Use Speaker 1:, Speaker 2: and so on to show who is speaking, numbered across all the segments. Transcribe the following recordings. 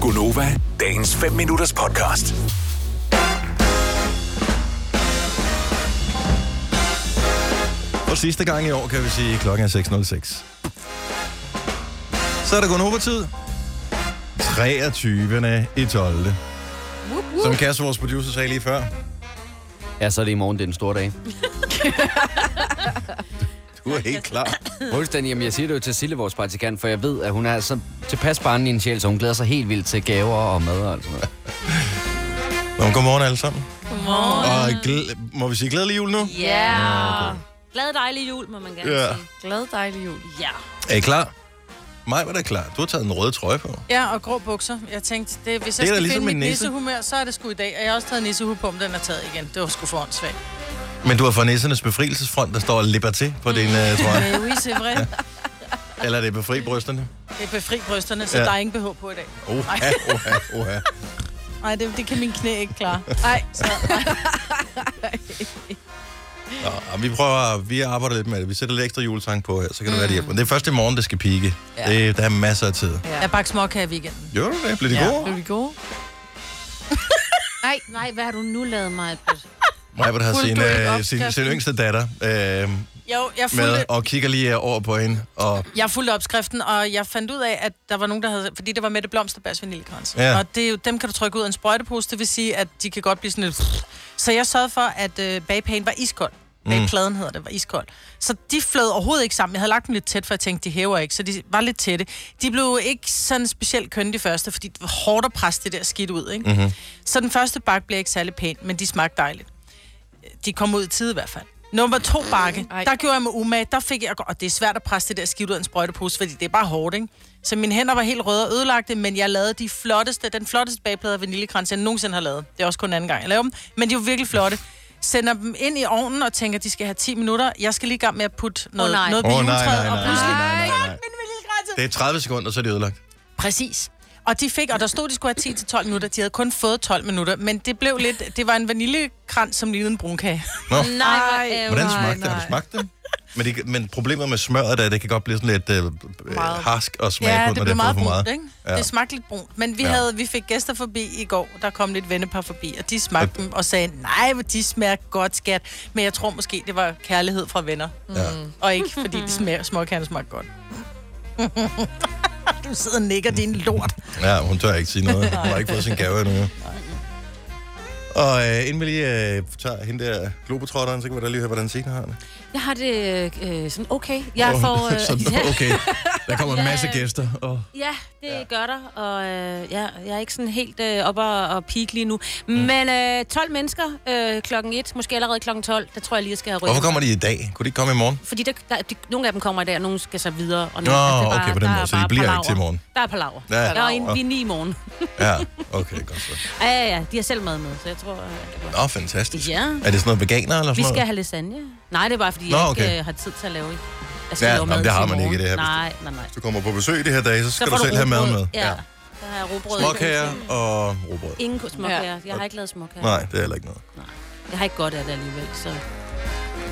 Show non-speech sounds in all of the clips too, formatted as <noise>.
Speaker 1: Gunova, dagens 5 minutters podcast.
Speaker 2: For sidste gang i år, kan vi sige, at klokken er 6.06. Så er der gået over tid. 23. i 12. Som Kasse, vores producer, sagde lige før.
Speaker 3: Ja, så er det i morgen, det er en stor dag.
Speaker 2: Du er helt klar.
Speaker 3: Fuldstændig, jamen jeg siger det jo til Sille, vores praktikant, for jeg ved, at hun er så tilpas barn i en sjæl, så hun glæder sig helt vildt til gaver og mad og alt sådan noget.
Speaker 2: Nå, godmorgen alle sammen. Godmorgen. Og glæ- må vi sige glædelig jul nu?
Speaker 4: Ja. Glad dejlig jul, må man gerne
Speaker 2: Ja.
Speaker 4: sige.
Speaker 5: Glad dejlig jul.
Speaker 4: Ja.
Speaker 2: Er I klar? Mig var da klar. Du har taget en rød trøje på.
Speaker 5: Ja, og grå bukser. Jeg tænkte, det, hvis jeg
Speaker 2: Det er da ligesom
Speaker 5: skal ligesom
Speaker 2: en
Speaker 5: finde mit
Speaker 2: nisse.
Speaker 5: nissehumør, så er det sgu i dag. Og jeg har også taget nissehue på, om den er taget igen. Det var sgu for åndssvagt.
Speaker 2: Men du har fra Nissernes Befrielsesfront, der står Liberté på din uh, trøje.
Speaker 5: <laughs> Men oui, c'est vrai.
Speaker 2: Eller er det Befri Brysterne?
Speaker 5: Det er befri brysterne, så
Speaker 2: Ja.
Speaker 5: ja. der er ingen BH på i dag.
Speaker 2: Oha, oha, oha.
Speaker 5: Nej, det, det kan min knæ ikke klare. Nej, så
Speaker 2: Nå, og vi prøver, vi arbejder lidt med det. Vi sætter lidt ekstra juletang på her, så kan det være,
Speaker 5: Mm.
Speaker 2: det hjælper. Det er først i morgen, det skal pike. Ja. Det, der er masser af tid.
Speaker 5: jeg bakker småkage i weekenden.
Speaker 2: Gjorde du det? Blev det ja. gode?
Speaker 5: vi gode?
Speaker 4: Nej, nej, hvad har du nu lavet mig,
Speaker 2: Majbert har
Speaker 5: Fulgte
Speaker 2: sin,
Speaker 5: du ikke
Speaker 2: øh,
Speaker 5: op,
Speaker 2: sin, sin
Speaker 5: Kirsten?
Speaker 2: yngste datter øh,
Speaker 5: Jo, jeg
Speaker 2: med,
Speaker 5: fulgte,
Speaker 2: og kigger lige øh, over på hende. Og,
Speaker 5: jeg fulgte opskriften, og jeg fandt ud af, at der var nogen, der havde... Fordi det var med det blomsterbærs vaniljekrans.
Speaker 2: Ja.
Speaker 5: Og det, er jo- dem kan du trykke ud af en sprøjtepose, det vil sige, at de kan godt blive sådan lidt... Så jeg sørgede for, at øh, bagpagen var iskold. Bagpladen hedder det, var iskold. Så de flød overhovedet ikke sammen. Jeg havde lagt dem lidt tæt, for jeg tænkte, de hæver ikke, så de var lidt tætte. De blev ikke sådan specielt kønne de første, fordi det var hårdt at presse det der skidt ud, ikke? Mm-hmm. Så den første bakke blev ikke særlig pæn, men de smagte dejligt de kom ud i tide i hvert fald. Nummer to bakke, Ej. der gjorde jeg mig umage, der fik jeg, og det er svært at presse det der skidt ud af en sprøjtepose, fordi det er bare hårdt, ikke? Så mine hænder var helt røde og ødelagte, men jeg lavede de flotteste, den flotteste bagplade af vaniljekrans, jeg nogensinde har lavet. Det er også kun anden gang, jeg laver dem, men de var virkelig flotte. Sender dem ind i ovnen og tænker, de skal have 10 minutter. Jeg skal lige i gang med at putte noget,
Speaker 4: nej.
Speaker 5: oh, noget
Speaker 2: Åh,
Speaker 5: på
Speaker 2: nej,
Speaker 5: oh,
Speaker 2: nej, nej,
Speaker 5: og pludselig...
Speaker 2: nej, nej, nej.
Speaker 5: Fuck, min vaniljekrans!
Speaker 2: det er 30 sekunder, så er det ødelagt.
Speaker 5: Præcis. Og de fik, og der stod, de skulle have 10-12 minutter. De havde kun fået 12 minutter, men det blev lidt... Det var en vaniljekrans, som lignede en brunkage.
Speaker 2: Nå,
Speaker 4: Nej, hvor
Speaker 2: hvordan
Speaker 4: ærgerligt.
Speaker 2: smagte det? Har du smagt det? Men, det, men problemet med smøret er, at det kan godt blive sådan lidt øh, øh, harsk og smage på,
Speaker 5: Ja, det
Speaker 2: når
Speaker 5: blev
Speaker 2: det er
Speaker 5: meget
Speaker 2: fået for
Speaker 5: brunt,
Speaker 2: meget.
Speaker 5: ikke?
Speaker 2: Ja.
Speaker 5: Ja. Det smagte lidt brunt. Men vi,
Speaker 2: Ja.
Speaker 5: ja. havde, vi fik gæster forbi i går, der kom lidt vennepar forbi, og de smagte dem og sagde, nej, hvor de smager godt, skat. Men jeg tror måske, det var kærlighed fra venner.
Speaker 2: Ja.
Speaker 5: Og ikke fordi de smager, småkærne smagte godt. <laughs> du sidder og nikker, din lort.
Speaker 2: Ja, hun tør ikke sige noget. Hun har ikke fået sin gave endnu. Og øh, inden vi lige øh, tager hende der globetrotteren, så kan vi da lige høre, hvordan Signe har det.
Speaker 4: Jeg har det øh, sådan okay. Jeg
Speaker 2: Åh,
Speaker 4: får... Øh,
Speaker 2: <laughs> sådan,
Speaker 4: ja,
Speaker 2: okay, der kommer en
Speaker 4: Ja.
Speaker 2: masse gæster. Oh.
Speaker 4: ja, det ja. gør der. Og øh, jeg, jeg er ikke sådan helt øh, oppe og, og peak lige nu. Mm. Men øh, 12 mennesker øh, klokken 1, måske allerede klokken 12, der tror jeg lige, jeg skal have rykket.
Speaker 2: Hvorfor kommer de i dag? Kunne de ikke komme i morgen?
Speaker 4: Fordi der, der, de, nogle af dem kommer i dag, og nogle skal så videre. Og
Speaker 2: Nå,
Speaker 4: nogle, det er
Speaker 2: okay, på den
Speaker 4: der er
Speaker 2: måde, så de
Speaker 4: bare
Speaker 2: bliver ikke
Speaker 4: palaver.
Speaker 2: til i morgen.
Speaker 4: Der er palaver.
Speaker 2: Ja.
Speaker 4: Ja. Der er
Speaker 2: Palaver.
Speaker 4: en, vi er ni i morgen.
Speaker 2: Ja, okay, godt så.
Speaker 4: Ja, ja, ja. De har selv mad med, så jeg tror... Øh,
Speaker 2: Nå, fantastisk.
Speaker 4: Ja.
Speaker 2: Er det sådan noget veganer eller
Speaker 4: vi
Speaker 2: sådan
Speaker 4: skal
Speaker 2: noget?
Speaker 4: have lasagne. Nej, det er bare, fordi
Speaker 2: Nå,
Speaker 4: Nå, jeg
Speaker 2: okay.
Speaker 4: ikke øh, har tid til at lave. Jeg skal
Speaker 2: Ja,
Speaker 4: lave
Speaker 2: nå, men
Speaker 4: mad
Speaker 2: det
Speaker 4: til
Speaker 2: har
Speaker 4: i
Speaker 2: man
Speaker 4: morgen.
Speaker 2: ikke i det her
Speaker 4: Nej, nej, nej.
Speaker 2: Hvis Du kommer på besøg i det her dag, så
Speaker 4: Så
Speaker 2: skal
Speaker 4: får
Speaker 2: du selv have mad
Speaker 4: rugbrød.
Speaker 2: med.
Speaker 4: Ja, der har jeg robrød.
Speaker 2: Småkager og robrød.
Speaker 4: Ingen ko- småkager. Jeg har ikke lavet småkager.
Speaker 2: Nej, det er heller ikke noget.
Speaker 4: Jeg har ikke godt af det alligevel, så...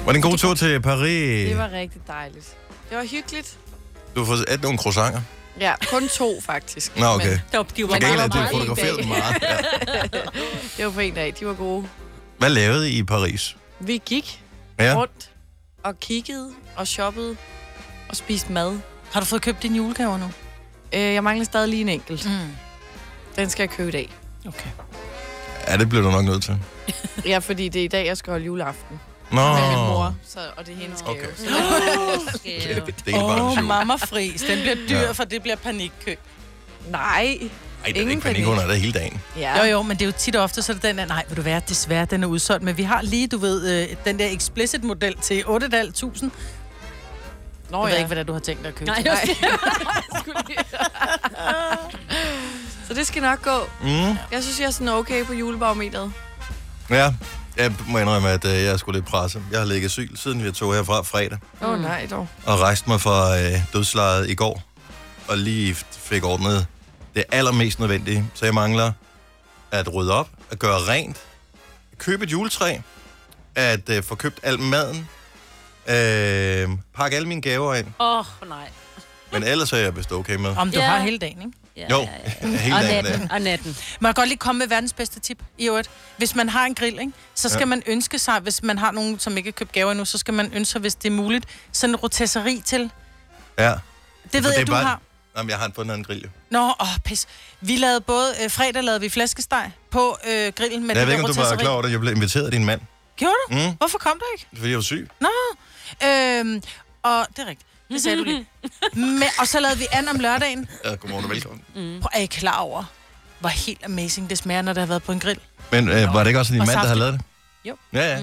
Speaker 2: Var det en god tur til Paris?
Speaker 6: Det var rigtig dejligt. Det var hyggeligt.
Speaker 2: Du har fået at nogle croissanter.
Speaker 6: Ja, kun to faktisk.
Speaker 2: Nå, okay.
Speaker 4: Det var, de var
Speaker 2: Til gengæld er
Speaker 4: meget,
Speaker 2: du
Speaker 4: meget
Speaker 2: fotograferet
Speaker 6: dag.
Speaker 2: meget. Ja.
Speaker 6: Men det var på en dag. De var gode.
Speaker 2: Hvad lavede I i Paris?
Speaker 6: Vi gik
Speaker 2: Ja.
Speaker 6: rundt og kiggede og shoppede og spiste mad.
Speaker 5: Har du fået købt dine julegaver nu?
Speaker 6: Øh, jeg mangler stadig lige en enkelt.
Speaker 5: Mm.
Speaker 6: Den skal jeg købe i dag.
Speaker 5: Okay.
Speaker 2: Ja, det blev du nok nødt til.
Speaker 6: Ja, fordi det er i dag, jeg skal holde juleaften
Speaker 2: Nå.
Speaker 6: med min mor. Så, og det er hendes gave.
Speaker 2: Okay.
Speaker 6: Så-
Speaker 4: skæve.
Speaker 2: Det er ikke bare en
Speaker 5: Åh, oh,
Speaker 2: sjov.
Speaker 5: mamma fris. Den bliver dyr,
Speaker 2: Ja.
Speaker 5: ja. for det bliver panikkøb.
Speaker 6: Nej.
Speaker 2: Ej, der er
Speaker 6: Ingen
Speaker 2: ikke panik
Speaker 6: panik.
Speaker 2: under det hele dagen.
Speaker 6: Ja.
Speaker 5: Jo, jo, men det er jo tit og ofte, så er det den der, nej, vil du være, desværre, den er udsolgt. Men vi har lige, du ved, øh, den der explicit-model til 8.500. Jeg
Speaker 6: Nå,
Speaker 5: ved
Speaker 6: ja.
Speaker 5: ikke, hvad det er, du har tænkt dig at købe.
Speaker 4: Nej,
Speaker 5: til.
Speaker 6: <laughs>
Speaker 5: <laughs>
Speaker 6: Så det skal nok gå.
Speaker 2: Mm.
Speaker 6: Jeg synes, jeg er sådan okay på julebarometeret.
Speaker 2: Ja, jeg må indrømme, at øh, jeg er sgu lidt presset. Jeg har ligget syg, siden vi tog herfra fredag,
Speaker 6: Åh,
Speaker 5: Mm.
Speaker 6: oh, nej dog.
Speaker 2: og rejste mig fra øh, dødslejet i går, og lige f- fik ordnet det allermest nødvendige. Så jeg mangler at rydde op, at gøre rent, købe et juletræ, at øh, få købt al maden, øh, pakke alle mine gaver ind.
Speaker 4: <laughs> Åh, oh, nej.
Speaker 2: Men ellers er jeg vist okay med.
Speaker 5: Om du
Speaker 4: Ja.
Speaker 5: har hele dagen, ikke?
Speaker 4: Ja,
Speaker 2: Jo,
Speaker 4: ja, ja.
Speaker 2: hele
Speaker 4: Og
Speaker 2: dagen i dag.
Speaker 4: natten, og natten.
Speaker 5: Man kan godt lige komme med verdens bedste tip i øvrigt. Hvis man har en grill, ikke? så skal ja. man ønske sig, hvis man har nogen, som ikke har købt gaver endnu, så skal man ønske sig, hvis det er muligt, sådan en rotisserie til. Det
Speaker 2: Ja.
Speaker 5: ved
Speaker 2: det er
Speaker 5: jeg, du
Speaker 2: bare-
Speaker 5: har.
Speaker 2: Jamen, jeg har en på en anden grill, jo.
Speaker 5: Nå, åh, pis. Vi lavede både, øh, fredag lavede vi flæskesteg på øh, grillen
Speaker 2: Jeg ved
Speaker 5: med det der
Speaker 2: ikke, om du var
Speaker 5: rotisserie.
Speaker 2: klar over det. Jeg blev inviteret af din mand,
Speaker 5: Gjorde du?
Speaker 2: Mm.
Speaker 5: Mm. Hvorfor kom du ikke?
Speaker 2: fordi jeg var syg.
Speaker 5: Øhm, og det er rigtigt. Det sagde du lige. Men, og så lavede vi an om lørdagen.
Speaker 2: Ja, godmorgen og velkommen.
Speaker 5: Prøv, er I klar over, hvor helt amazing det smager, når det har været på en grill?
Speaker 2: Men øh, var det ikke også din
Speaker 5: Og
Speaker 2: mand, der havde
Speaker 5: saftigt.
Speaker 2: lavet det?
Speaker 5: Jo. Mm.
Speaker 2: Ja, ja.